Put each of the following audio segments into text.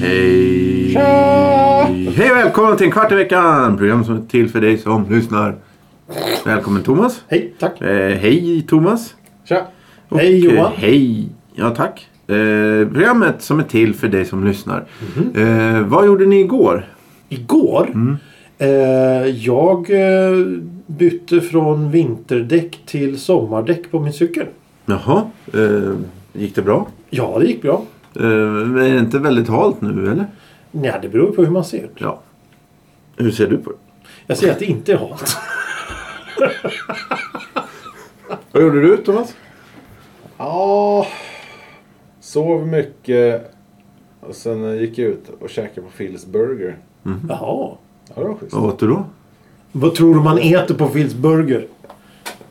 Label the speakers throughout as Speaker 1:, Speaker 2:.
Speaker 1: Hej! Hej och välkommen till en kvart i veckan! Program som är till för dig som lyssnar. Välkommen Thomas.
Speaker 2: Hej, tack.
Speaker 1: Eh, hej Thomas.
Speaker 2: Tja.
Speaker 1: Och,
Speaker 2: Hej, Johan.
Speaker 1: eh, hej. Ja tack. Eh, programmet som är till för dig som lyssnar.
Speaker 2: Mhm.
Speaker 1: Eh, vad gjorde ni igår?
Speaker 2: Igår. Eh, jag eh, bytte från vinterdäck till sommardäck på min cykel.
Speaker 1: Jaha. Eh, gick det bra?
Speaker 2: Ja, det gick bra.
Speaker 1: Eh, men är det inte väldigt halt nu eller?
Speaker 2: Nej, det beror på hur man ser.
Speaker 1: Ja. Hur ser du på det?
Speaker 2: Jag ser att det inte är halt.
Speaker 1: Vad gjorde du Thomas?
Speaker 3: Ja, sov mycket. Och sen eh, gick jag ut och käkade på Phil's Burger.
Speaker 2: Jaha.
Speaker 3: Ja, det var schysst.
Speaker 1: Vad åt du då?
Speaker 2: Vad tror du man äter på Phils burger?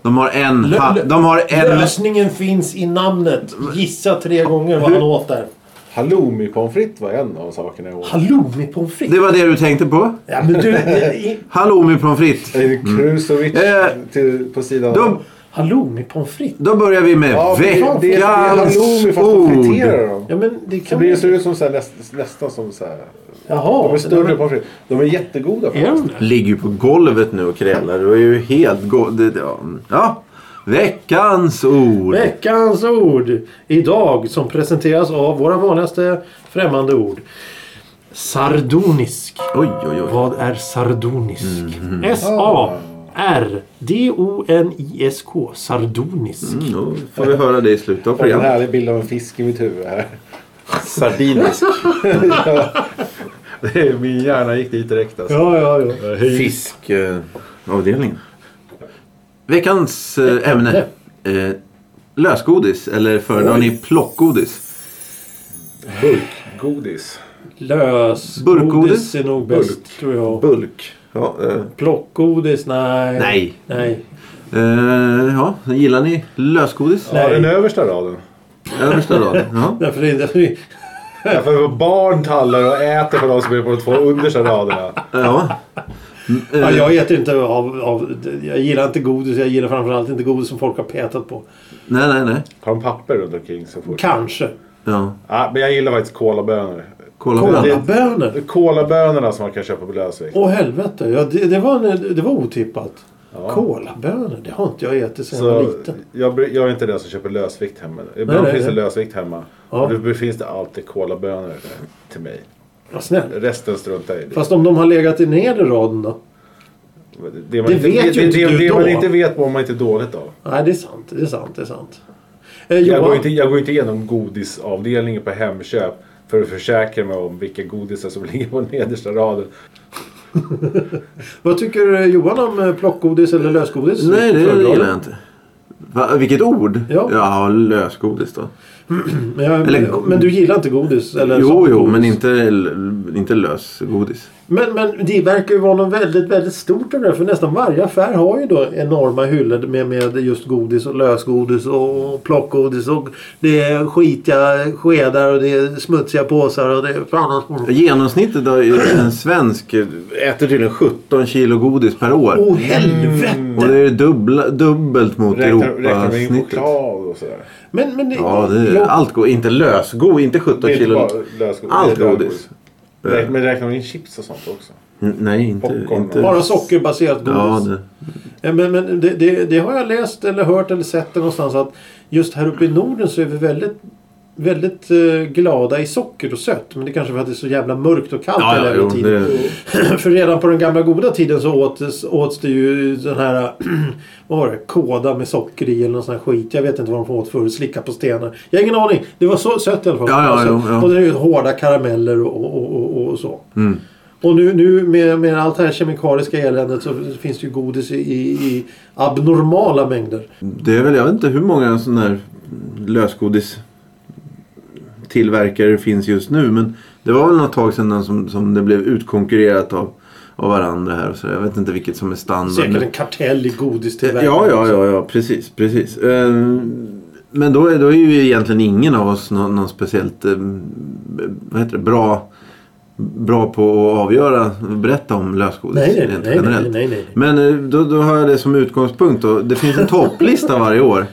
Speaker 1: De har en...
Speaker 2: Lö-
Speaker 1: ha-
Speaker 2: lö-
Speaker 1: de har
Speaker 2: Eh.
Speaker 1: en...
Speaker 2: Lösningen finns i namnet. Gissa tre gånger vad han åt där.
Speaker 3: Halloumi-pommes frites var en av sakerna jag åt.
Speaker 2: Halloumi-pommes frites.
Speaker 1: Det var det du tänkte på?
Speaker 2: Ja, men du. eh, i-
Speaker 1: Halloumi pommes frites.
Speaker 3: En Krusovic
Speaker 1: Eh,
Speaker 3: till, på sidan.
Speaker 1: Då,
Speaker 2: Halloumi-pommes frites.
Speaker 1: då börjar vi med
Speaker 3: ja, det, det, det är
Speaker 1: veckans
Speaker 3: halloumi fast de
Speaker 1: ord.
Speaker 3: friterar dem.
Speaker 2: Ja, men det
Speaker 3: Det
Speaker 2: kan...
Speaker 3: blir, ser ut som så här, näst, nästan som så här.
Speaker 2: Jaha.
Speaker 3: De är
Speaker 2: det
Speaker 3: större
Speaker 2: där-
Speaker 3: pommes frites. De är jättegoda
Speaker 2: Är de
Speaker 3: faktiskt.
Speaker 2: det?
Speaker 1: Ligger ju på golvet nu och krälar. Du är ju helt go- det- det- ja. ja. Veckans ord.
Speaker 2: Veckans ord idag som presenteras av våra vanligaste främmande ord. Sardonisk.
Speaker 1: Oj, oj, oj.
Speaker 2: Vad är sardonisk? S-A-R-D-O-N-I-S-K. Sardonisk.
Speaker 1: Då får vi höra det i slutet av
Speaker 3: Jag har en
Speaker 1: programmet.
Speaker 3: härlig bild av en fisk i mitt huvud här.
Speaker 1: Sardinisk.
Speaker 3: Det är- Min hjärna gick dit direkt alltså.
Speaker 2: Ja, ja, ja.
Speaker 1: Fiskavdelningen. eh, Veckans eh, ämne. Eh, lösgodis eller föredrar ni plockgodis?
Speaker 3: Burkgodis.
Speaker 2: Lös.
Speaker 1: Burkgodis?
Speaker 2: Burkgodis är nog bäst tror jag.
Speaker 1: Bulk. Ja, eh,
Speaker 2: Plockgodis? Nej.
Speaker 1: Nej.
Speaker 2: Nej.
Speaker 1: eh, ja, gillar ni lösgodis?
Speaker 3: Ja,
Speaker 2: Nej.
Speaker 3: den översta raden.
Speaker 1: Översta raden. Ja.
Speaker 2: Därför det är inte...
Speaker 3: Därför att barn tallar och äter på de som är på de två understa raderna.
Speaker 1: Ja.
Speaker 2: Ja, jag äter inte av, av... Jag gillar inte godis. Jag gillar framförallt inte godis som folk har petat på.
Speaker 1: Nej, nej, nej.
Speaker 3: Har de papper runt omkring så fort?
Speaker 2: Kanske.
Speaker 1: Ja.
Speaker 3: Ja, men jag gillar faktiskt kolabönor.
Speaker 1: Kolla på den.
Speaker 2: Kolabönor?
Speaker 3: Kolabönorna som man kan köpa på Lösvikt.
Speaker 2: Åh helvete, ja, det, det, var en, det var otippat. Kolabönor, det har inte jag ätit sedan jag var
Speaker 3: Så
Speaker 2: liten.
Speaker 3: jag, bry- jag är inte den som köper lösvikt hemma. Ibland
Speaker 2: nej,
Speaker 3: finns det
Speaker 2: nej.
Speaker 3: lösvikt hemma.
Speaker 2: Ja.
Speaker 3: Och då finns det alltid kolabönor till mig.
Speaker 2: Vad snäll.
Speaker 3: Resten struntar jag i.
Speaker 2: Fast om de har legat i nedre raden då?
Speaker 3: Det, man
Speaker 2: det
Speaker 3: inte,
Speaker 2: vet
Speaker 3: det,
Speaker 2: ju inte
Speaker 3: det,
Speaker 2: du
Speaker 3: det
Speaker 2: då.
Speaker 3: man inte vet mår man inte dåligt av.
Speaker 2: Nej, det är sant. Det är sant. Det är sant. Eh,
Speaker 3: Jag
Speaker 2: Johan,
Speaker 3: går, inte, jag går inte igenom godisavdelningen på Hemköp för att försäkra mig om vilka godisar som ligger på nedersta raden.
Speaker 2: vad tycker eh, Johan om eh, plockgodis eller lösgodis?
Speaker 1: Nej, det
Speaker 2: Föredrar du?
Speaker 1: gillar jag inte. Va, vilket ord?
Speaker 2: Ja.
Speaker 1: lösgodis då.
Speaker 2: Men, jag,
Speaker 1: Eller-
Speaker 2: men du gillar inte godis? Eller
Speaker 1: Jo,
Speaker 2: sånt
Speaker 1: jo,
Speaker 2: godis.
Speaker 1: men inte, l- inte lösgodis.
Speaker 2: Men, men det verkar ju vara något väldigt, väldigt stort det där. För nästan varje affär har ju då enorma hyllor med, med just godis och lösgodis och plockgodis. Och det är skitiga skedar och det är smutsiga påsar och det är fan
Speaker 1: Genomsnittet av en svensk äter tydligen 17 kilo godis per år.
Speaker 3: Oh,
Speaker 2: Åh helvete!
Speaker 1: Och det är dubbla, dubbelt mot
Speaker 3: Räknar, räknar man in
Speaker 1: Europasnittet.
Speaker 3: choklad och sådär?
Speaker 2: Men, men det,
Speaker 1: Ja, det är,
Speaker 2: jag,
Speaker 1: allt går. Inte lösgodis, inte 17
Speaker 3: Det är inte
Speaker 1: kilo.
Speaker 3: bara lösgodis.
Speaker 1: Allt
Speaker 3: det är
Speaker 1: godis.
Speaker 3: Räk- Men räknar man in chips och sånt också?
Speaker 1: N- Nej, inte...
Speaker 3: Popcorn.
Speaker 1: inte.
Speaker 2: bara sockerbaserat godis.
Speaker 1: Ja, det.
Speaker 2: Ja, Men, men det, det, det har jag läst eller hört eller sett någonstans att just här uppe i Norden så är vi väldigt, väldigt eh, glada i socker och sött. Men det är kanske för att det är så jävla mörkt och kallt
Speaker 1: Ja,
Speaker 2: hela
Speaker 1: ja,
Speaker 2: jävla
Speaker 1: jo,
Speaker 2: tiden.
Speaker 1: det,
Speaker 2: För redan på den gamla goda tiden så åts, åts det ju den här vad var det, kåda med socker i eller någon sån här skit. Jag vet inte vad de åt förr. Slicka på stenar. Jag har ingen aning. Det var så sött i alla fall.
Speaker 1: Ja, ja,
Speaker 2: Alltså,
Speaker 1: jo, Mm. ja.
Speaker 2: Och det är ju hårda karameller och, och, och, och så. Och nu, nu med, med allt det här kemikaliska eländet så finns det ju godis i, i, i abnormala mängder.
Speaker 1: Det är väl, jag vet inte hur många sådana här lösgodis tillverkare det finns just nu. Men det var väl något tag sedan den som, som det blev utkonkurrerat av, av varandra här. Och så. Jag vet inte vilket som är standard.
Speaker 2: Säkert
Speaker 1: nu.
Speaker 2: en kartell i
Speaker 1: Ja,
Speaker 2: godistillverkning.
Speaker 1: ja, ja, ja, precis, precis. Eh, Men då är, då är ju egentligen ingen av oss någon, någon speciellt eh, b- vad heter det, bra, bra på att avgöra, berätta om lösgodis
Speaker 2: Nej, nej,
Speaker 1: rent
Speaker 2: nej, nej,
Speaker 1: generellt.
Speaker 2: nej, nej, nej.
Speaker 1: Men eh, då, då har jag det som utgångspunkt. Då. Det finns en topplista varje år.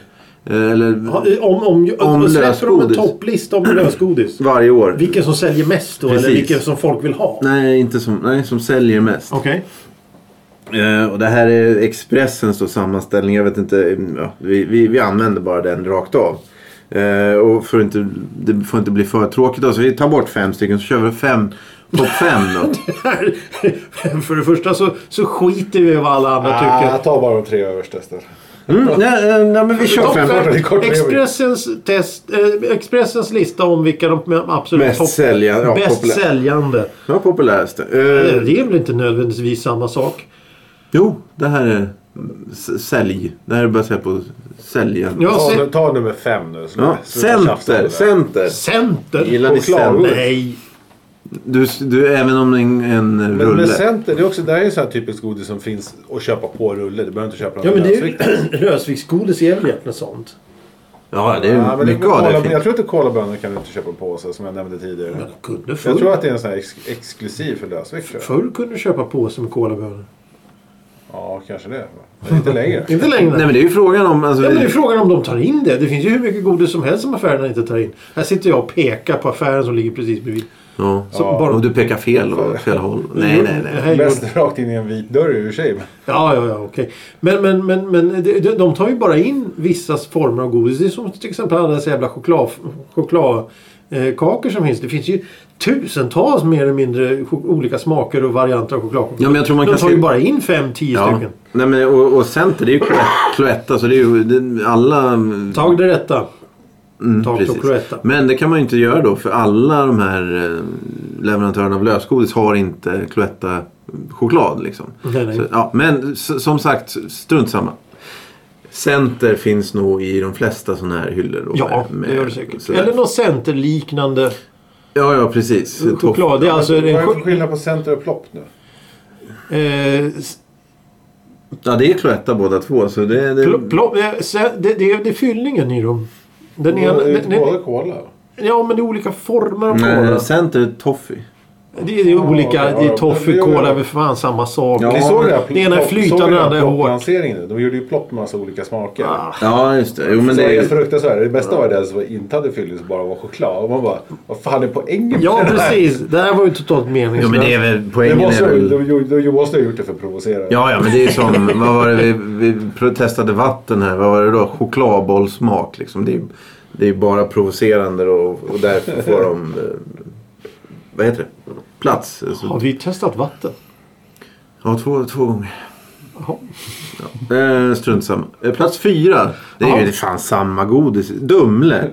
Speaker 1: Eh, Eller
Speaker 2: Ja, Om, om,
Speaker 1: Om
Speaker 2: om släpper de en
Speaker 1: lösgodis.
Speaker 2: topplista om lösgodis?
Speaker 1: varje år.
Speaker 2: Vilken som säljer mest då? Eller
Speaker 1: Precis.
Speaker 2: vilken som folk vill ha?
Speaker 1: Nej, inte som, nej, som säljer mest.
Speaker 2: Okej.
Speaker 1: Eh, och det här är Expressens då sammanställning. Jag vet inte. mm, Ja, vi, vi, vi använder bara den rakt av. Eh, och för att inte, det får inte bli för tråkigt. Då, så vi tar bort fem stycken så kör vi fem. Topp fem då.
Speaker 2: Här- För det första så, så skiter vi i vad alla andra
Speaker 3: Ah,
Speaker 2: tycker.
Speaker 3: jag tar bara de tre översta istället.
Speaker 1: Mm, nej, eh, nej men vi kör
Speaker 2: Topp
Speaker 1: fem.
Speaker 2: fem.
Speaker 3: Det är kort
Speaker 2: Expressens, test, eh, Expressens lista om vilka de absolut
Speaker 1: Mest sälja- ja,
Speaker 2: bäst
Speaker 1: populär.
Speaker 2: säljande.
Speaker 1: Ja, populäraste.
Speaker 2: Eh,
Speaker 1: Eh,
Speaker 2: Det är väl inte nödvändigtvis samma sak?
Speaker 1: jo, det här är s- sälj. Det här är baserat på sälja.
Speaker 2: Ja,
Speaker 3: Ta,
Speaker 2: se-
Speaker 3: nu- ta nummer fem nu. Sluta,
Speaker 1: Ja,
Speaker 3: sluta tjafsa om
Speaker 1: center,
Speaker 3: det.
Speaker 1: center.
Speaker 2: Center?
Speaker 1: Gillar ni
Speaker 3: Chokladgodis.
Speaker 1: center?
Speaker 2: Nej.
Speaker 1: Du, du, även om det är en, en
Speaker 3: Men, men
Speaker 1: rulle.
Speaker 3: center, det är också det här är ju så här typiskt godis som finns att köpa på rulle. Du behöver inte köpa något
Speaker 2: Ja men det är ju...
Speaker 3: lösvikt.
Speaker 2: Rösviksgodis är väl egentligen sånt?
Speaker 1: Ja, det är
Speaker 3: Ja, men
Speaker 1: mycket av det.
Speaker 3: kola,
Speaker 1: finns.
Speaker 3: jag tror inte kolabönor kan du inte köpa på sig som jag nämnde tidigare.
Speaker 2: Men de kunde
Speaker 3: Jag tror
Speaker 2: förr.
Speaker 3: att det är en sån här ex- exklusiv för lösvikt. tror jag.
Speaker 2: Förr kunde du köpa påse med kolabönor.
Speaker 3: Ja, kanske det. Men inte längre.
Speaker 2: Inte längre.
Speaker 1: Nej, men det är ju frågan om... Alltså,
Speaker 2: Ja, men det är frågan om de tar in det. Det finns ju hur mycket godis som helst som affärerna inte tar in. Här sitter jag och pekar på affären som ligger precis bredvid.
Speaker 1: ja.
Speaker 2: Så
Speaker 3: Ja.
Speaker 2: bara...
Speaker 1: Och du pekar fel och fel håll. Nej, nej, nej.
Speaker 2: Här gjorde-
Speaker 3: Mest rakt in i en vit dörr i och för sig. men-
Speaker 2: Ja, ja, ja, okej. Men, men, men, men de, de- de tar ju bara in vissa former av godis. Det är som till exempel alla dessa jävla choklad, chokladkakor som finns. Det finns ju tusentals mer eller mindre chok- olika smaker och varianter av chokladkakor.
Speaker 1: Ja, men jag tror man
Speaker 2: de
Speaker 1: kan
Speaker 2: tar
Speaker 1: se-
Speaker 2: ju bara in fem, tio
Speaker 1: Ja.
Speaker 2: stycken.
Speaker 1: Nej, men, och, och center, det är ju kloett- kloetta. Så det är ju det, alla...
Speaker 2: Tag det rätta.
Speaker 1: Mm,
Speaker 2: tag
Speaker 1: precis.
Speaker 2: på kloetta.
Speaker 1: Men det kan man ju inte göra då. För alla de här eh, leverantörerna av lösgodis har inte cloetta choklad liksom.
Speaker 2: Nej, nej.
Speaker 1: Så, ja, men s- som sagt, strunt samma. Center finns nog i de flesta sådana här hyllor. Då,
Speaker 2: Ja,
Speaker 1: med-
Speaker 2: det gör det säkert.
Speaker 1: sådär.
Speaker 2: Eller någon centerliknande
Speaker 1: Ja, ja, precis.
Speaker 2: choklad. Det är alltså en,
Speaker 3: Vad är det för
Speaker 2: cho-
Speaker 3: skillnad på center och plopp nu?
Speaker 2: eh, s-
Speaker 1: Ja, det är cloetta båda två. Så det, det...
Speaker 2: plo- plo- eh, se- det, det, är- det är fyllningen i dem. Den
Speaker 3: Det
Speaker 2: ena,
Speaker 3: är inte
Speaker 2: den, den,
Speaker 3: båda cola?
Speaker 2: ja, men det är olika former av
Speaker 1: Nej,
Speaker 2: kola.
Speaker 1: center är toffee.
Speaker 2: Det är ju olika.
Speaker 3: Ja,
Speaker 2: Det
Speaker 3: ja,
Speaker 2: är toffee,
Speaker 3: ja, ja.
Speaker 2: cola, det är för fan samma sak.
Speaker 1: Ja,
Speaker 3: Ni såg det här?
Speaker 2: det ena är
Speaker 3: Plopp-
Speaker 2: flytande
Speaker 3: såg ni
Speaker 2: och det andra är
Speaker 3: plopp-
Speaker 2: hårt.
Speaker 3: lanseringen nu? De gjorde ju plopp med massa olika smaker.
Speaker 2: Ah,
Speaker 1: Ja, just det. Jo, men
Speaker 3: Så
Speaker 1: det
Speaker 3: det är
Speaker 1: är...
Speaker 3: fruktansvärt. Det bästa var det som inte hade fyllning som bara var choklad. Och man bara, vad fan är poängen med
Speaker 2: Ja,
Speaker 3: det här?
Speaker 2: precis. Det här var ju totalt meningslöst.
Speaker 1: Jo, men det är väl...
Speaker 3: Det
Speaker 1: Poängen
Speaker 3: måste,
Speaker 1: är
Speaker 3: de,
Speaker 1: väl...
Speaker 3: de, de, de måste ha gjort det för att provocera.
Speaker 1: Ja, ja, men det är som... Vad var det vi, vi pro- testade vatten här? Vad var det då? Chokladbollsmak liksom. Det är, det är bara provocerande och, och därför får de... eh, Vad heter det? Plats. Alltså,
Speaker 2: Har vi testat vatten?
Speaker 1: ja, två, två gånger.
Speaker 2: Jaha.
Speaker 1: Eh, strunt samma. Eh, plats fyra. Det är
Speaker 2: Ja.
Speaker 1: ju fan samma godis. Dumle.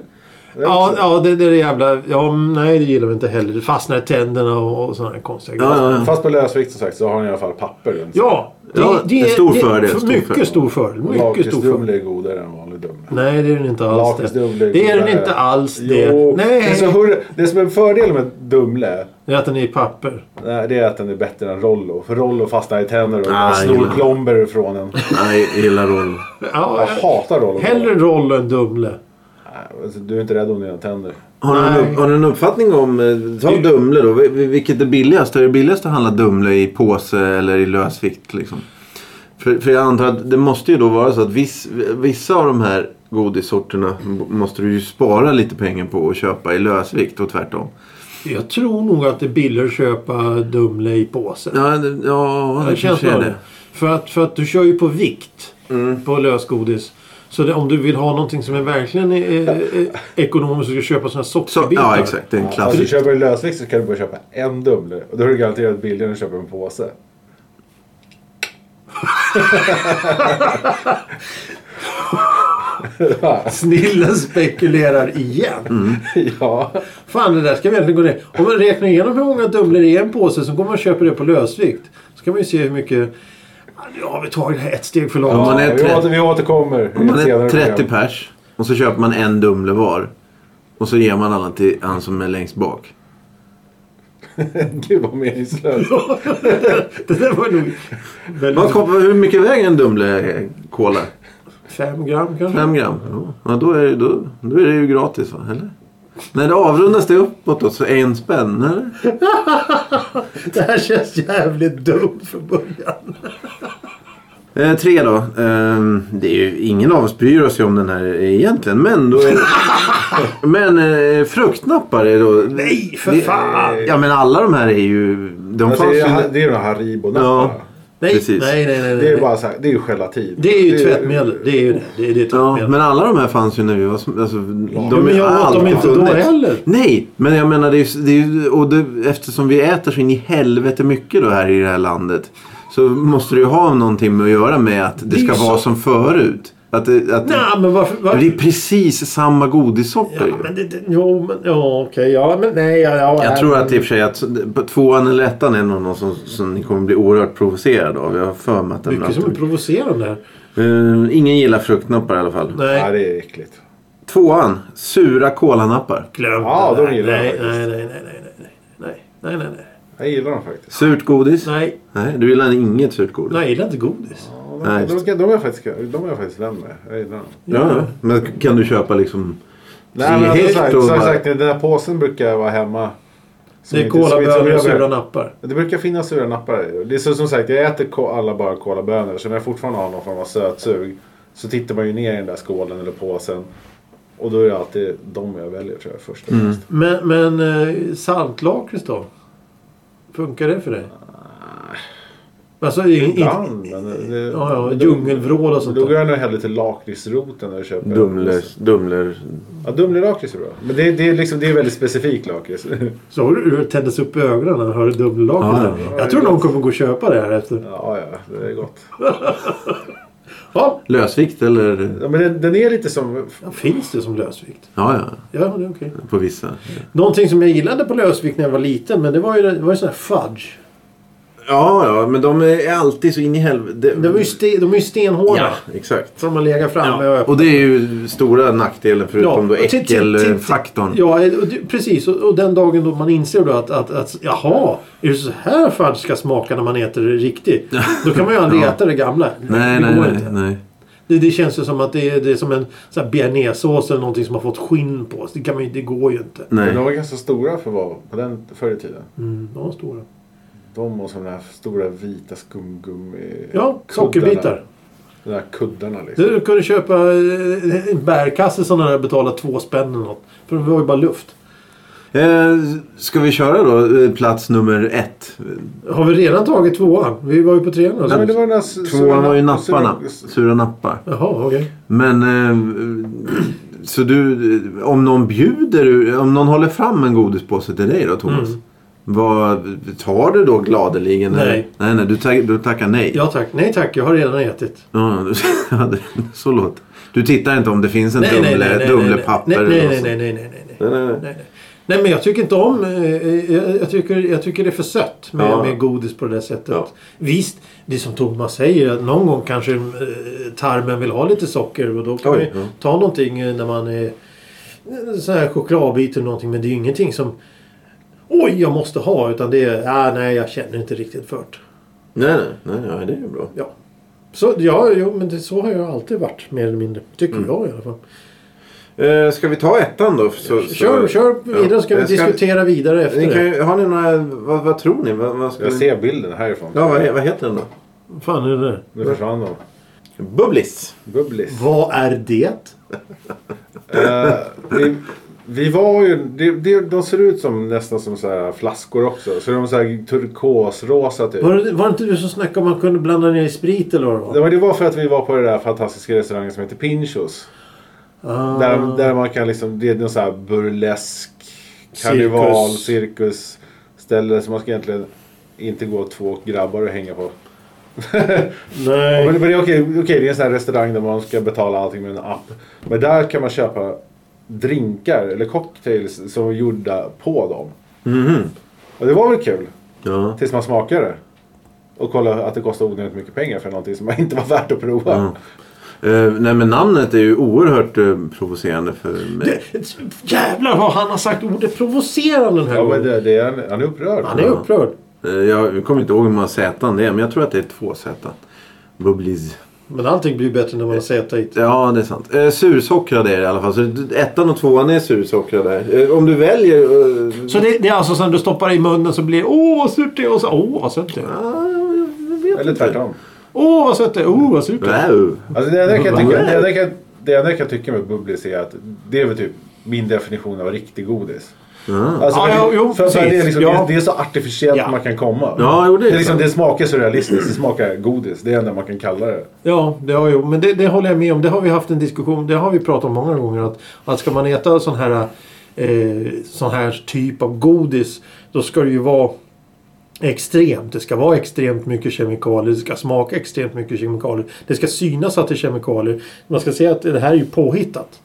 Speaker 2: Ja, ja det, det är det jävla... Ja, nej, det gillar vi inte heller. Det fastnar i tänderna och, och sådana här konstiga
Speaker 1: Ja, ja, ja.
Speaker 3: Fast på lösvikt som sagt så har ni i alla fall papper runt.
Speaker 2: Ja, det,
Speaker 1: Ja,
Speaker 2: det,
Speaker 1: en stor
Speaker 2: det-
Speaker 1: fördel,
Speaker 2: för-
Speaker 1: stor fördel.
Speaker 2: Mycket stor fördel. Mycket stor fördel.
Speaker 3: Lakritsdumle är godare än vanlig dumle.
Speaker 2: Nej, det är den inte alls. Det,
Speaker 3: Lakritsdumle är
Speaker 2: det är den
Speaker 3: godare.
Speaker 2: inte alls. Det.
Speaker 3: Jo,
Speaker 2: Nej,
Speaker 3: Det, är så hurra, det som är en fördel med Dumle
Speaker 2: det är att den är i papper.
Speaker 3: nej, det är att den är bättre än Rollo. För Rollo fastnar i tänder och
Speaker 1: Ah,
Speaker 3: snor
Speaker 1: gillar.
Speaker 3: plomber ifrån en.
Speaker 1: Nej, jag gillar roll.
Speaker 2: Ja,
Speaker 3: Jag
Speaker 2: jag-
Speaker 3: hatar Rollo.
Speaker 2: hellre roll än Dumle.
Speaker 3: Nej, alltså, Du är inte rädd om dina tänder.
Speaker 1: Har du,
Speaker 2: Nej.
Speaker 1: en, har du en uppfattning om, eh, ta Dumle då, vil- vil- vilket är billigast? Är det billigast att handla Dumle i påse eller i lösvikt? Liksom? För, för jag antar att det måste ju då vara så att viss, vissa av de här godissorterna m- måste du ju spara lite pengar på och köpa i lösvikt och tvärtom.
Speaker 2: Jag tror nog att det är billigare att köpa Dumle i påse.
Speaker 1: Ja, det, ja, det kanske är
Speaker 2: nog
Speaker 1: det. Mm.
Speaker 2: För att, för att du kör ju på vikt på lösgodis. Så det, om du vill ha någonting som är verkligen eh, eh, ekonomiskt så ska du köpa sådana här
Speaker 1: Så,
Speaker 2: sockerbitar.
Speaker 1: ja, exakt. Det är en
Speaker 3: Alltså,
Speaker 1: klassisk.
Speaker 3: köper du lösvikt så kan du bara köpa en Dumle. Och då är det garanterat billigare än att köpa en påse.
Speaker 2: Snillen spekulerar igen.
Speaker 1: Mm.
Speaker 3: ja.
Speaker 2: Fan det där ska vi egentligen gå ner. Om man räknar igenom hur många dumlor det är i en påse så går man och köper det på lösvikt. Så kan man ju se hur mycket... Ja, Nu har vi tagit det här ett steg för långt.
Speaker 1: Om man är
Speaker 3: ja, vi,
Speaker 1: tre-
Speaker 3: åter, vi återkommer. i ett
Speaker 1: Man är
Speaker 3: senare
Speaker 1: 30
Speaker 3: program.
Speaker 1: pers och så köper man en Dumle var. Och så ger man alla till han som är längst bak.
Speaker 3: Gud vad meningslöst.
Speaker 2: det där var nog...
Speaker 1: Vad
Speaker 2: Väldigt...
Speaker 1: kom- Hur mycket väger en Dumle eh, Cola?
Speaker 2: Fem gram kanske?
Speaker 1: Fem gram. Ja. Ja, då, är det, då, då är det ju gratis va? Eller? Nej, det avrundas det uppåt då, så en spänn eller?
Speaker 2: Det här känns jävligt dumt från början.
Speaker 1: Eh, tre då. Ehm, det är ju, ingen av oss bryr sig om den här egentligen. Men, då är, men eh, fruktnappare då.
Speaker 2: Nej, för
Speaker 1: Det-
Speaker 2: fan!
Speaker 1: Ja men alla de här är ju... De
Speaker 3: Alltså,
Speaker 1: fanns
Speaker 3: det,
Speaker 1: ju...
Speaker 3: är, det är ju de här haribo
Speaker 1: Ja.
Speaker 2: Nej,
Speaker 1: Precis.
Speaker 2: nej, nej. nej, nej.
Speaker 3: Det är ju bara så här, det är ju gelatin.
Speaker 2: det är ju tvättmedel. Det är ju det. det, är, det är
Speaker 1: Ja,
Speaker 2: tvättmedel.
Speaker 1: men alla de här fanns ju när vi var små. Alltså,
Speaker 2: Ja, men jag
Speaker 1: har
Speaker 2: åt dem
Speaker 1: alltid
Speaker 2: inte då
Speaker 1: funnits.
Speaker 2: heller.
Speaker 1: Nej, men jag menar det är, ju- det är ju- och det, eftersom vi äter så in i helvete mycket då här i det här landet. Så måste det ju ha någonting med att göra med att det,
Speaker 2: är ju
Speaker 1: ska vara
Speaker 2: så-
Speaker 1: som förut. Att det, att
Speaker 2: Nej, men varför? varför?
Speaker 1: det är precis samma godissorter.
Speaker 2: Ja,
Speaker 1: ju.
Speaker 2: men det, det, jo, men ja, okej. Ja, men nej. Ja, ja,
Speaker 1: Jag
Speaker 2: nej,
Speaker 1: tror
Speaker 2: men-
Speaker 1: att i och för sig att på tvåan eller ettan är någon som, som ni kommer bli oerhört provocerade av. Jag har för mig att den
Speaker 2: Mycket som är provocerande här.
Speaker 1: Eh, Ingen gillar fruktnappar i alla fall.
Speaker 3: Ja,
Speaker 2: Nej,
Speaker 3: det är äckligt.
Speaker 1: Tvåan, sura kolanappar.
Speaker 2: glöm
Speaker 3: Ja,
Speaker 2: det.
Speaker 3: de gillar jag
Speaker 2: nej,
Speaker 3: faktiskt.
Speaker 2: nej, nej, nej, nej, nej, nej, nej, nej, nej,
Speaker 3: Jag gillar dem faktiskt.
Speaker 1: Surt godis?
Speaker 2: nej,
Speaker 1: Nej, du gillar inget surt godis?
Speaker 2: nej, jag gillar inte godis.
Speaker 3: Ja, de,
Speaker 1: Nej,
Speaker 3: de,
Speaker 1: just
Speaker 3: de, de, är jag faktiskt, de är jag faktiskt vän med. Jag gillar dem.
Speaker 1: Ja, ja. Men kan du köpa liksom...
Speaker 3: Nej, men
Speaker 1: Helt
Speaker 3: alltså, sagt,
Speaker 1: och
Speaker 3: som
Speaker 1: bara-
Speaker 3: sagt, den där påsen brukar jag vara hemma. Som
Speaker 2: Det är
Speaker 3: inte- som inte- som
Speaker 2: kolabönor
Speaker 3: jag
Speaker 2: och sura
Speaker 3: behöver.
Speaker 2: nappar.
Speaker 3: Det brukar finnas sura nappar i. Det är så, som sagt, jag äter ko- alla bara kolabönor. Så när jag fortfarande har någon form av sötsug så tittar man ju ner i den där skålen eller påsen. Och då är det alltid de jag väljer tror jag först och
Speaker 2: Mm.
Speaker 3: främst.
Speaker 2: Men, men eh, saltlakrits då? Funkar det för dig? Alltså, i- i-
Speaker 3: Ah. Ibland, men det-
Speaker 2: ja, ja,
Speaker 3: men då-
Speaker 2: djungelvrål och sånt
Speaker 3: Då
Speaker 2: där.
Speaker 3: går jag nog hellre till lakritsroten när jag köper.
Speaker 1: Dumler... Dumler...
Speaker 3: Ja, Dumlerlakrits är bra. Men det, det, är liksom, det är väldigt specifik lakrits.
Speaker 2: så har du tändes upp i ögonen när du hör
Speaker 1: Ja,
Speaker 2: dumlakrits.
Speaker 1: ja,
Speaker 3: ja.
Speaker 2: Jag tror någon kommer gå och köpa det här efter.
Speaker 3: Ja, ja, det är gott.
Speaker 2: Ja,
Speaker 1: Lösvikt eller...
Speaker 3: Ja, men den, den är lite som...
Speaker 2: ja, finns det som lösvikt?
Speaker 1: Ja, ja.
Speaker 2: Ja, det är okej.
Speaker 1: På vissa.
Speaker 2: Någonting som jag gillade på lösvikt när jag var liten, men det var ju, det var ju sån här fudge.
Speaker 1: Ja, ja. Men de är alltid så in i helvete...
Speaker 2: De är ju, ste, de är ju stenhårda.
Speaker 1: Ja, exakt.
Speaker 2: Som man lägger framme och
Speaker 1: Ja.
Speaker 2: öppnar.
Speaker 1: Och det är ju stora nackdelen förutom då
Speaker 2: och till- till- till-
Speaker 1: äckelfaktorn.
Speaker 2: Ja, och det- precis. Och, och den dagen då man inser då att, att, att jaha, är det så här fudge ska smaka när man äter det riktigt? Då kan man ju aldrig äta det gamla.
Speaker 1: Nej,
Speaker 2: det
Speaker 1: nej,
Speaker 2: går
Speaker 1: nej.
Speaker 2: inte.
Speaker 1: nej.
Speaker 2: Det, det känns ju som att det är, det är som en så här bearnaisesås eller någonting som har fått skinn på sig. Det, kan man ju- det går ju inte.
Speaker 1: nej.
Speaker 3: Men de var ganska stora för vad på den förr i tiden.
Speaker 2: Mm, de var stora.
Speaker 3: De och sådana här stora vita skumgummi...
Speaker 2: Ja,
Speaker 3: kuddarna.
Speaker 2: sockerbitar.
Speaker 3: De där kuddarna liksom.
Speaker 2: Du kunde köpa eh, en bärkasse sådana där betala två spänn eller något. För det var ju bara luft.
Speaker 1: Eh, ska vi köra då eh, plats nummer ett?
Speaker 2: Har vi redan tagit tvåan? Vi var ju på trean alltså.
Speaker 3: Nej, men det var den där s-
Speaker 1: Tvåan var ju
Speaker 3: sura-
Speaker 1: napparna.
Speaker 3: sura-
Speaker 1: Sura nappar.
Speaker 2: Jaha, okej.
Speaker 1: Men... Eh, så du... Om någon bjuder... Om någon håller fram en godispåse till dig då, Thomas?
Speaker 2: Mm.
Speaker 1: Vad, tar du då gladeligen?
Speaker 2: Nej.
Speaker 1: eller? Nej, nej. Du, tack, du tackar nej?
Speaker 2: Ja tack. Nej tack, jag har redan ätit.
Speaker 1: Ja, du- ja, det- så låter Du tittar inte om det finns en
Speaker 2: Nej, nej, nej,
Speaker 1: Dumle-
Speaker 2: nej,
Speaker 1: Dumlepapper
Speaker 2: nej,
Speaker 1: eller
Speaker 2: nej, nej,
Speaker 1: något
Speaker 2: nej,
Speaker 1: sånt?
Speaker 2: nej, nej, nej,
Speaker 1: Nej,
Speaker 2: nej.
Speaker 1: nej, nej.
Speaker 2: Nej, nej. Nej men jag tycker inte om... eh, eh, Jag, jag, tycker, jag tycker det är för sött med,
Speaker 1: Ja.
Speaker 2: med godis på det där sättet.
Speaker 1: Ja.
Speaker 2: Visst, det är som Thomas säger att någon gång kanske eh, tarmen vill ha lite socker och då kan
Speaker 1: Oj,
Speaker 2: man ju
Speaker 1: ja.
Speaker 2: ta någonting eh, när man är... eh, Så här chokladbit eller någonting men det är ju ingenting som... Oj, jag måste ha utan det är... Ah, nej, jag känner inte riktigt för det.
Speaker 1: Nej, nej, nej, ja, det är ju bra.
Speaker 2: Ja. Så, ja, jo, men det, så har jag alltid varit mer eller mindre. Tycker
Speaker 1: Mm.
Speaker 2: jag i alla fall.
Speaker 1: Eh, ska vi ta ettan då? Så, så-
Speaker 2: Kör, kör vidare så kan
Speaker 1: Ja. Eh,
Speaker 2: vi diskutera vidare efter
Speaker 1: Ni kan,
Speaker 2: det.
Speaker 1: ju- har ni några, vad, vad tror ni? Vad, vad ska
Speaker 3: Jag
Speaker 1: ni-
Speaker 3: ser bilden härifrån.
Speaker 1: Ja, vad, vad heter den då?
Speaker 2: Vad fan är det där?
Speaker 3: Nu försvann de.
Speaker 1: Bubblis.
Speaker 3: Bubblis.
Speaker 2: Vad är det?
Speaker 3: Eh, vi, vi var ju... Det, det, de ser ut som nästan som så här flaskor också. Så de är så här turkosrosa typ.
Speaker 2: Var, det- var det inte du som snackade om att man kunde blanda ner i sprit eller vad det
Speaker 3: Det
Speaker 2: var?
Speaker 3: var, det var för att vi var på den där fantastiska restaurangen som heter Pinchos.
Speaker 2: Ah,
Speaker 3: Där, där man kan liksom, det är någon sån här burlesk, karneval,
Speaker 2: Cirkus.
Speaker 3: cirkus. ställe som man ska egentligen inte gå två grabbar och hänga på. Men,
Speaker 2: nej.
Speaker 3: men det är okej, okej, det är en sån här restaurang där man ska betala allting med en app. Men där kan man köpa drinkar eller cocktails som är gjorda på dem.
Speaker 2: Mhm.
Speaker 3: Och det var väl kul.
Speaker 1: Ja.
Speaker 3: Tills man smakade det. Och kollade att det kostade onödigt mycket pengar för någonting som inte var värt att prova.
Speaker 1: Eh, nej, men namnet är ju oerhört eh, provocerande för mig.
Speaker 2: Jävlar vad han har sagt ordet provocerande den här
Speaker 3: Ja, men
Speaker 2: gången.
Speaker 3: det, det är, han- han är upprörd.
Speaker 2: Han är upprörd.
Speaker 1: Eh, jag kommer inte ihåg hur många Z det är, men jag tror att det är två Z. Bubblis.
Speaker 2: Men allting blir bättre när man har sätit.
Speaker 1: Ja, det är sant. Eh, sursockrade är det i alla fall. Så d- ettan och tvåan är sursockrade. Eh, om du väljer... Eh,
Speaker 2: Så det, det är alltså som du stoppar i munnen så blir det åh vad surt det är och så åh vad sött det är.
Speaker 1: ah, jag vet
Speaker 3: Eller
Speaker 1: inte.
Speaker 3: tvärtom.
Speaker 2: Åh vad sött det är, åh vad surt det är.
Speaker 1: Wow.
Speaker 3: Alltså det enda jag kan tycka, det enda jag kan, det enda jag kan tycka med bubblis är att det är väl typ min definition av riktig godis. Alltså,
Speaker 2: Ja,
Speaker 3: för-
Speaker 2: jo, jo,
Speaker 3: för att
Speaker 2: precis.
Speaker 3: det, är liksom,
Speaker 2: Ja.
Speaker 3: det, är, det är så artificiellt
Speaker 2: Ja.
Speaker 3: man kan komma.
Speaker 1: Ja, jo, det är
Speaker 3: det, är liksom,
Speaker 1: sant.
Speaker 3: det smakar så realistiskt. Det smakar godis. Det är det enda man kan kalla det.
Speaker 2: Ja, det har jag, men det, det håller jag med om. Det har vi haft en diskussion, det har vi pratat om många gånger. Att, att ska man äta sån här, eh, sån här typ av godis då ska det ju vara extremt. Det ska vara extremt mycket kemikalier. Det ska smaka extremt mycket kemikalier. Det ska synas att det är kemikalier. Man ska säga att det här är ju påhittat.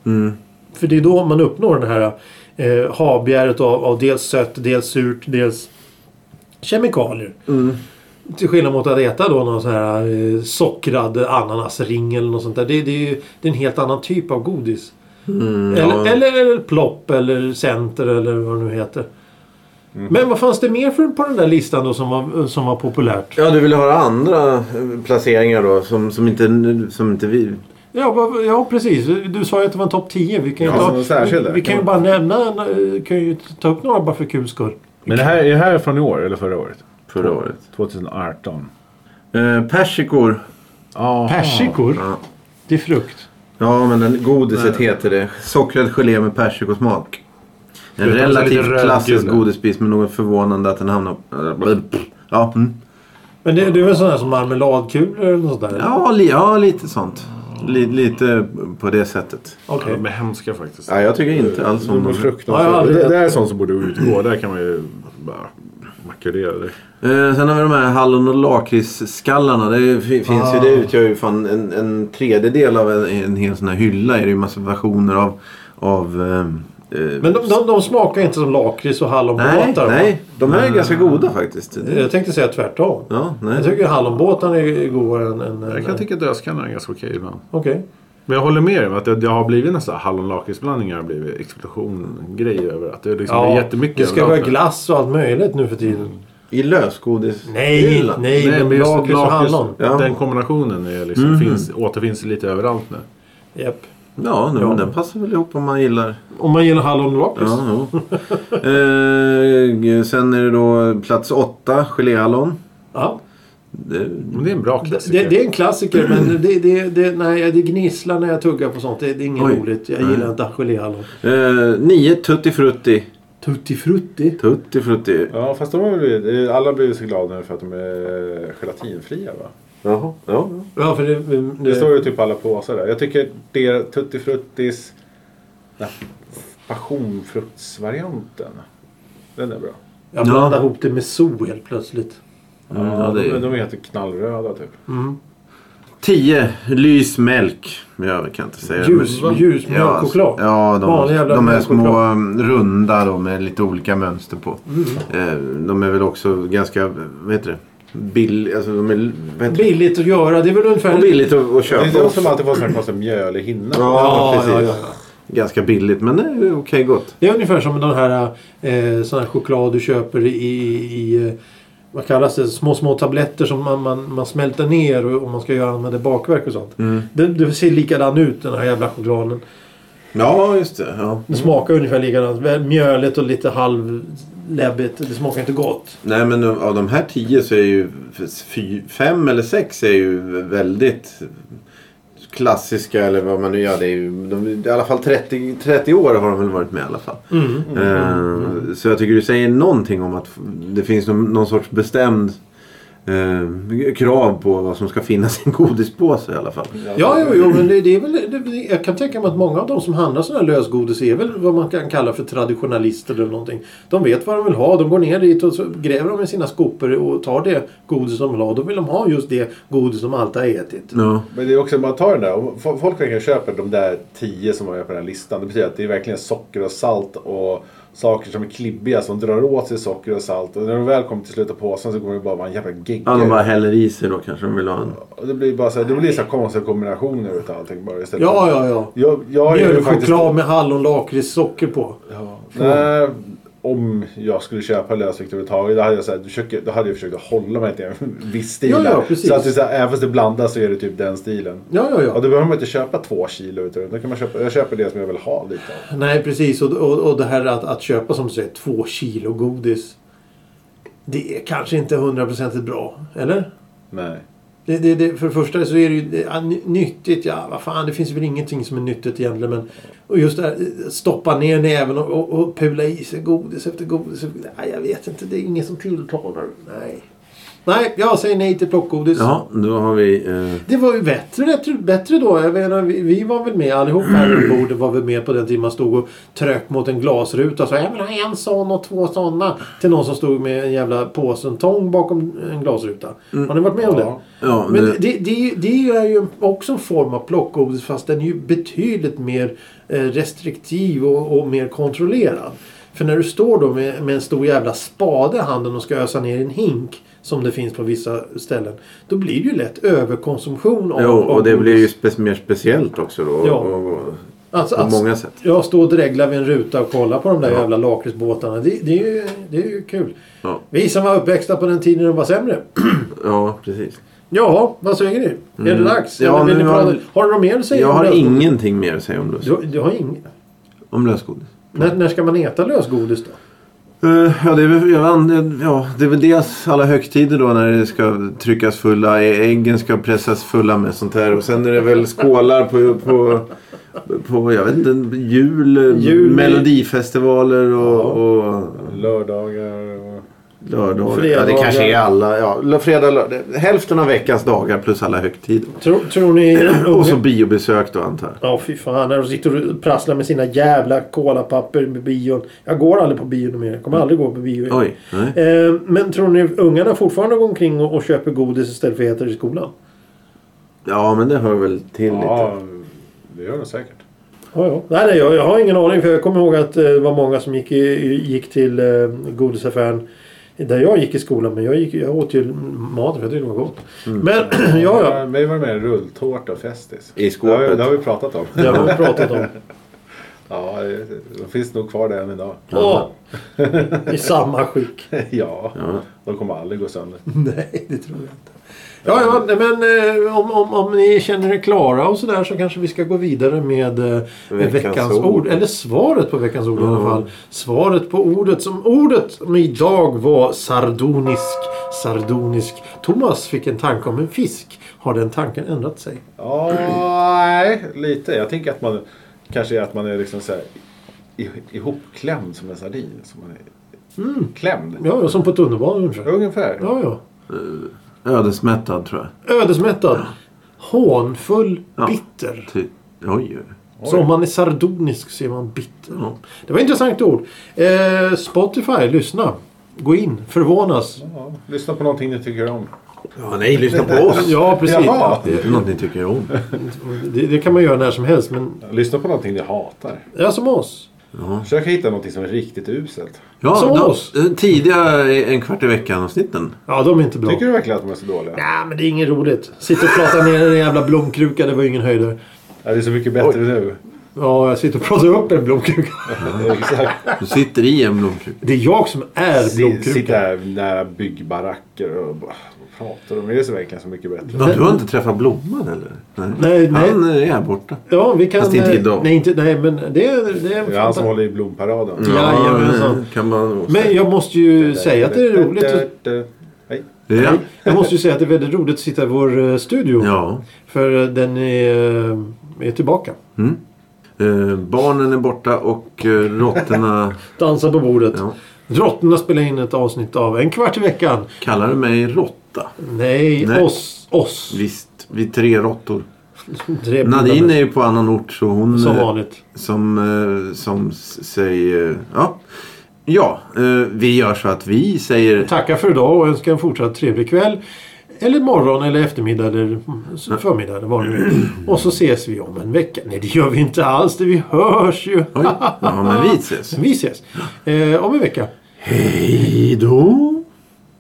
Speaker 2: För det är då man uppnår den här eh, havbegäret av, av dels sött, dels surt, dels kemikalier.
Speaker 3: Mm.
Speaker 2: Till skillnad mot att äta då någon sån här eh, sockrad ananasring eller något sånt där. Det, det är ju det är en helt annan typ av godis.
Speaker 3: Mm,
Speaker 2: eller, eller, eller plopp eller center eller vad det nu heter.
Speaker 3: Mm.
Speaker 2: Men vad fanns det mer för på den där listan då som var, som var populärt?
Speaker 1: Ja, du vill höra andra eh, placeringar då som, som, inte, som inte vi...
Speaker 2: Ja, vad- ja precis. Du sa ju att det var en topp 10. Vi kan ju,
Speaker 3: Ja,
Speaker 2: ta-
Speaker 3: som särskild
Speaker 2: vi,
Speaker 3: där.
Speaker 2: vi kan ju bara nämna, en, eh, kan ju ta upp några bara för kul skull.
Speaker 4: Men det här, är det här från i år eller förra året?
Speaker 1: Förra året.
Speaker 4: 2018.
Speaker 1: Eh, persikor.
Speaker 4: Aha.
Speaker 2: Persikor.
Speaker 1: Ja.
Speaker 2: Det är frukt.
Speaker 1: Ja, men den, godiset heter det. Sockrad gelé med persikosmak. En
Speaker 4: Utan så lite
Speaker 1: relativt
Speaker 4: rödgul
Speaker 1: klassisk
Speaker 4: där.
Speaker 1: godisbit men något förvånande att den hamnar... Ja, mm.
Speaker 2: Men det, det är väl sådana som marmeladkulor eller något sånt där?
Speaker 1: ja, li, ja lite sånt. Li, lite på det sättet.
Speaker 2: Okej.
Speaker 4: De är hemska faktiskt.
Speaker 1: Ja, jag tycker inte alls om
Speaker 4: De är
Speaker 1: dem.
Speaker 4: fruktansvärt.
Speaker 2: Ja, jag har aldrig-
Speaker 4: det, det här är sånt som borde utgå. Där kan man ju bara makulera det.
Speaker 1: Eh, sen har vi de här hallon och lakritsskallarna. Det fi- finns ju, det utgör ju fan en, en tredjedel av en, en hel sån här hylla. Är det ju massa versioner av... av eh, eh,
Speaker 2: Men de, de, de smakar inte som lakrits och
Speaker 1: nej,
Speaker 2: hallonbåtar va?
Speaker 1: nej. De här är ganska goda faktiskt.
Speaker 2: Jag tänkte säga tvärtom.
Speaker 1: Ja,
Speaker 2: Jag
Speaker 1: nej.
Speaker 2: tycker hallonbåtarna är godare än... än
Speaker 4: Jag kan tycka att dödskallar är ganska okej ibland.
Speaker 2: Okej.
Speaker 4: Men jag håller med dig om att det, det har blivit nästan hallon-lakritsblandningar har blivit explosion-grej över att det liksom är jättemycket. Mm.
Speaker 2: Det ska vara
Speaker 4: överallt.
Speaker 2: glass och allt möjligt nu för tiden.
Speaker 1: I lösgodis.
Speaker 2: Nej, nej.
Speaker 4: Nej, men
Speaker 2: men
Speaker 4: just
Speaker 2: lakrits och
Speaker 4: lakrits,
Speaker 2: hallon. Mhm.
Speaker 1: Ja.
Speaker 4: Den kombinationen är liksom, finns, återfinns lite överallt nu.
Speaker 2: Japp.
Speaker 1: Ja, nu,
Speaker 2: Ja.
Speaker 1: men den passar väl ihop om man gillar.
Speaker 2: Om man gillar hallon och lakrits.
Speaker 1: Ja, jo. eh, sen är det då plats åtta, geléhallon.
Speaker 2: Ja.
Speaker 1: Det-
Speaker 4: Men det är en bra
Speaker 2: Det,
Speaker 4: klassiker.
Speaker 2: det, det är en klassiker men det, det, det, nej, det gnisslar när jag tuggar på sånt. Det, det är inget
Speaker 1: Oj.
Speaker 2: roligt. Jag gillar inte geléhallon.
Speaker 1: Eh, nio, tutti frutti.
Speaker 2: Tutti frutti.
Speaker 1: Tutti frutti.
Speaker 3: Ja, fast de har väl blivit, eh, alla har blivit så glada nu för att de är gelatinfria va?
Speaker 1: Jaha. Ja.
Speaker 2: Ja, för det, det,
Speaker 3: Det står ju typ alla påsar där. Jag tycker det Tutti Fruttis nej, passionfruktsvarianten. Den är bra.
Speaker 2: jag
Speaker 1: Ja.
Speaker 2: blandar ihop det med sol helt plötsligt.
Speaker 1: Mm, ja, det
Speaker 3: de,
Speaker 1: är...
Speaker 3: de är helt knallröda typ.
Speaker 1: Tio, lysmjölk. Jag kan inte säga det, men-
Speaker 2: Ljus, ljusmjölk
Speaker 1: Ja,
Speaker 2: och choklad.
Speaker 1: Ja,
Speaker 2: Vanlig
Speaker 1: de,
Speaker 2: jävla
Speaker 1: de här
Speaker 2: mjölk och
Speaker 1: små
Speaker 2: choklad.
Speaker 1: mm, runda då, med lite olika mönster på.
Speaker 2: Mm.
Speaker 1: Eh, de är väl också ganska, vad heter det? Bill, alltså de är, vad heter det?
Speaker 2: Billigt att göra. Det är väl ungefär...
Speaker 1: Och billigt att, att
Speaker 3: Det
Speaker 1: köpa.
Speaker 3: är de som alltid får sån här konstig mjölig hinna.
Speaker 1: Ja,
Speaker 2: Ja,
Speaker 1: precis.
Speaker 2: ja, ja.
Speaker 1: Ganska billigt men det är okej gott.
Speaker 2: Det är ungefär som den här, eh, sån här choklad du köper i, i, i eh, vad kallas det, små små tabletter som man, man, man smälter ner och- om man ska göra använda bakverk och sånt. Den, det ser likadan ut den här jävla chokladen.
Speaker 1: Ja, just det. Ja.
Speaker 2: Den smakar ungefär likadant. Väl Mjöligt och lite halvläbbigt. Det smakar inte gott.
Speaker 1: Nej men av de här tio så är ju fy, fem eller sex är ju väldigt klassiska eller vad man nu gör. Det är ju, de, I alla fall 30, 30 år har de väl varit med i alla fall.
Speaker 2: Mm.
Speaker 1: Eh, Så jag tycker du säger någonting om att det finns någon, någon sorts bestämd eh, krav på vad som ska finnas i en godispåse i alla fall.
Speaker 2: Ja, jo, jo men det, det är väl, det, jag kan tänka mig att många av de som handlar sådana här lösgodis är väl vad man kan kalla för traditionalister eller någonting. De vet vad de vill ha. De går ner dit och så gräver de i sina skopor och tar det godis de vill ha. Då vill de ha just det godis de alltid har ätit.
Speaker 1: Ja.
Speaker 3: Men det är också, man tar den där, om fo- folk verkligen köper de där tio som var med på den här listan. Det betyder att det är verkligen socker och salt och saker som är klibbiga som drar åt sig socker och salt. Och när de väl kommer till slutet av påsen så kommer det bara vara en jävla gegga.
Speaker 1: Ja, de bara häller i sig då kanske de vill ha en.
Speaker 3: Och det blir bara så här, det blir så här konstiga kombinationer utav allting bara istället.
Speaker 2: Ja, ja, ja.
Speaker 3: Jag, jag är ju
Speaker 2: Mjölkchoklad
Speaker 3: faktiskt...
Speaker 2: med hallon, lakrits, socker på.
Speaker 3: Nej, om jag skulle köpa lösvikt överhuvudtaget, då hade jag, så här, du försöker, då hade jag försökt att hålla mig till en viss stil.
Speaker 2: Ja, ja,
Speaker 3: där.
Speaker 2: precis.
Speaker 3: så att det, är så här, även fast det blandas så är det typ den stilen.
Speaker 2: Ja, ja, ja.
Speaker 3: Och då behöver man inte köpa två kilo utan då kan man köpa, jag köper det som jag vill ha lite av.
Speaker 2: Nej, precis. Och, och, och det här att, att köpa som du säger två kilo godis. Det är kanske inte hundraprocentigt bra. Eller?
Speaker 3: Nej.
Speaker 2: Det, det, det, för det första så är det ju det, ja, ny- nyttigt. Ja, vad fan. Det finns väl ingenting som är nyttigt egentligen. Men, och just det här, eh, stoppa ner näven och, och, och pula i sig godis efter godis. efter- Nej, jag vet inte. Det är ingen som tilltalar. Nej. Nej, jag säger nej till plockgodis.
Speaker 1: Ja, då har vi... Eh,
Speaker 2: Det var ju bättre, bättre, bättre då. Jag menar, vi, vi var väl med allihop här runt bordet var väl med på den tiden man stod och tröck mot en glasruta och sa jag vill ha en sån och två såna. Till någon som stod med en jävla påse och en tång bakom en glasruta. Har ni varit med om det?
Speaker 3: Ja.
Speaker 1: Mm. ja,
Speaker 2: Men
Speaker 1: det-
Speaker 2: det, det, är ju- det är ju också en form av plockgodis fast den är ju betydligt mer eh, restriktiv och, och mer kontrollerad. För när du står då med, med en stor jävla spade i handen och ska ösa ner i en hink som det finns på vissa ställen. Då blir det ju lätt överkonsumtion av
Speaker 1: Jo, och det
Speaker 2: av
Speaker 1: blir ju
Speaker 2: godis.
Speaker 1: spe mer speciellt också då.
Speaker 2: Ja.
Speaker 1: Och, och, och,
Speaker 2: alltså,
Speaker 1: på
Speaker 2: att,
Speaker 1: många sätt.
Speaker 2: Ja, stå och dregla vid en ruta och kolla på de där
Speaker 1: Ja.
Speaker 2: jävla lakritsbåtarna. Det, det, är ju- det är ju kul.
Speaker 1: Ja,
Speaker 2: Vi som var uppväxta på den tiden de var sämre.
Speaker 1: ja precis.
Speaker 2: Jaha, vad säger ni? Är det dags?
Speaker 1: Mm. Ja,
Speaker 2: Eller vill
Speaker 1: nu
Speaker 2: ni
Speaker 1: har-
Speaker 2: prata- har du något mer att säga? Alltså,
Speaker 1: Jag
Speaker 2: om
Speaker 1: har
Speaker 2: lösgodis?
Speaker 1: ingenting mer att säga om lösgodis.
Speaker 2: Du, du har ingen.
Speaker 1: Om lösgodis.
Speaker 2: När, när ska man äta lösgodis då?
Speaker 1: Eh, Ja det, är väl, jag an- ja, det är väl dels alla högtider då när det ska tryckas fulla, ä- äggen ska pressas fulla med sånt här. Och sen är det väl skålar på, på, på jag vet inte, jul,
Speaker 2: Jul.
Speaker 1: melodifestivaler och, och
Speaker 3: Lördagar och...
Speaker 1: lördagar. Ja,
Speaker 2: Fredagar.
Speaker 1: det kanske är alla. Ja, lö- fredag, lördag, hälften av veckans dagar plus alla högtider.
Speaker 2: Tror, tror ni...
Speaker 1: Och så biobesök då antar jag.
Speaker 2: Ja, fy fan. När de sitter och prasslar med sina jävla kolapapper med bion. Jag går aldrig på bio mer. Jag kommer aldrig gå på bio igen.
Speaker 1: Oj, nej.
Speaker 2: Eh, Men tror ni ungarna fortfarande går omkring och, och köper godis istället för att äta det i skolan?
Speaker 1: Ja men det hör väl till lite.
Speaker 3: Ja, det gör det säkert.
Speaker 2: Ja, ja. Nej, nej, jag, jag har ingen aning. För jag kommer ihåg att eh, det var många som gick, i- gick till eh, godisaffären där jag gick i skolan. Men jag, gick, jag åt ju maten för jag tyckte det var gott. Men ja, ja.
Speaker 3: Ja, Vi var med i rulltårta och festis.
Speaker 1: I skåpet.
Speaker 3: Det har vi, det har vi pratat om.
Speaker 2: Det har vi pratat om.
Speaker 3: Ja, det, de finns nog kvar där än idag.
Speaker 2: Ja. I samma skick.
Speaker 3: Ja, de kommer aldrig gå sönder.
Speaker 2: Nej, det tror jag inte. Ja, ja, nej, men eh, om, om, om ni känner er klara och sådär så kanske vi ska gå vidare med eh, veckans,
Speaker 1: Veckans
Speaker 2: ord. Mm.
Speaker 1: ord.
Speaker 2: Eller svaret på veckans ord i alla
Speaker 1: Ja.
Speaker 2: fall. Svaret på ordet som ordet som idag var sardonisk. Sardonisk. Thomas fick en tanke om en fisk. Har den tanken ändrat sig?
Speaker 3: Ja, nej, lite. Jag tänker att man kanske är att man är liksom så här i- ihopklämd som en sardin. Som man är klämd.
Speaker 2: Mm. Ja, ja, som på tunnelbanan ungefär.
Speaker 3: Ungefär.
Speaker 2: Ja, ja.
Speaker 1: Ödesmättad tror jag.
Speaker 2: Ödesmättad. Hånfull.
Speaker 1: Ja.
Speaker 2: Bitter.
Speaker 1: Ty- Oj, oj.
Speaker 2: Så om man är sardonisk så är man bitter. Mm. Det var ett intressant ord. Eh, Spotify, lyssna. Gå in, förvånas.
Speaker 3: Ja, lyssna på någonting ni tycker om.
Speaker 1: Ja, nej, lyssna på oss.
Speaker 2: Ja, precis.
Speaker 3: Jaha.
Speaker 1: Det är något ni tycker om.
Speaker 2: Det, det kan man göra när som helst, men
Speaker 3: Lyssna på någonting ni hatar.
Speaker 2: ja, som oss.
Speaker 3: Försök hitta någonting som är riktigt uselt.
Speaker 1: Ja,
Speaker 2: Som
Speaker 1: de,
Speaker 2: oss.
Speaker 1: eh, Tidiga en kvart i veckan-avsnitten.
Speaker 2: Ja, de är inte bra.
Speaker 3: Tycker du verkligen att de är så dåliga?
Speaker 2: Nej, men det är inget roligt. Sitta och prata ner en jävla blomkruka, det var ingen höjdare.
Speaker 3: Ja, det är så mycket bättre nu.
Speaker 2: Ja, jag sitter och pratar upp en blomkruka.
Speaker 3: Exakt.
Speaker 1: Du sitter i en blomkruka.
Speaker 2: Det är jag som är
Speaker 3: Si- Sitta
Speaker 2: blomkrukan.
Speaker 3: här nära byggbaracker och bara, vad pratar de? Är det så verkligen så mycket bättre?
Speaker 1: Ja, du har inte träffat Blomman eller?
Speaker 2: Nej, nej.
Speaker 1: Han eh, är här borta.
Speaker 2: Ja, vi kan...
Speaker 1: Fast inte
Speaker 2: eh,
Speaker 1: idag.
Speaker 2: Nej, inte, nej men det är... Det är
Speaker 3: Det är han som håller i blomparaden.
Speaker 2: Ja. Jajamensan.
Speaker 1: eh, kan man också.
Speaker 2: men jag måste ju säga att det är roligt. att-
Speaker 3: Hej.
Speaker 1: Ja.
Speaker 2: Jag måste ju säga att det är väldigt roligt att sitta i vår eh, studio.
Speaker 1: ja.
Speaker 2: För eh, den är, eh, är tillbaka.
Speaker 1: Eh, barnen är borta och eh, råttorna...
Speaker 2: Dansa på bordet.
Speaker 1: Ja.
Speaker 2: Råttorna spelar in ett avsnitt av En kvart i veckan.
Speaker 1: Kallar du mig råtta?
Speaker 2: Nej,
Speaker 1: Nej.
Speaker 2: oss. Oss.
Speaker 1: Visst, vi är tre råttor.
Speaker 2: Tre
Speaker 1: Nadine
Speaker 2: bildade,
Speaker 1: är ju på annan ort så hon...
Speaker 2: Som
Speaker 1: eh,
Speaker 2: vanligt.
Speaker 1: Som, eh, som s- säger... Ja. Ja, eh, vi gör så att vi säger...
Speaker 2: Tackar för idag och önskar en fortsatt trevlig kväll. Eller morgon eller eftermiddag eller mm, förmiddag eller vad det nu är. Och så ses vi om en vecka. Nej, det gör vi inte alls. Det vi hörs ju.
Speaker 1: Oj, ja men vi ses.
Speaker 2: Vi ses. Eh, om en vecka.
Speaker 1: Hej då!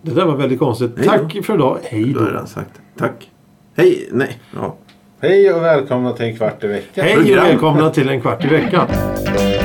Speaker 2: Det där var väldigt konstigt.
Speaker 1: Hej då.
Speaker 2: Tack för idag. Hej
Speaker 1: Då har
Speaker 2: då.
Speaker 1: jag redan sagt det. Tack. Hej, nej. Ja.
Speaker 3: Hej och välkomna till en kvart i veckan.
Speaker 2: Hej och
Speaker 1: Program.
Speaker 2: välkomna till En kvart i veckan.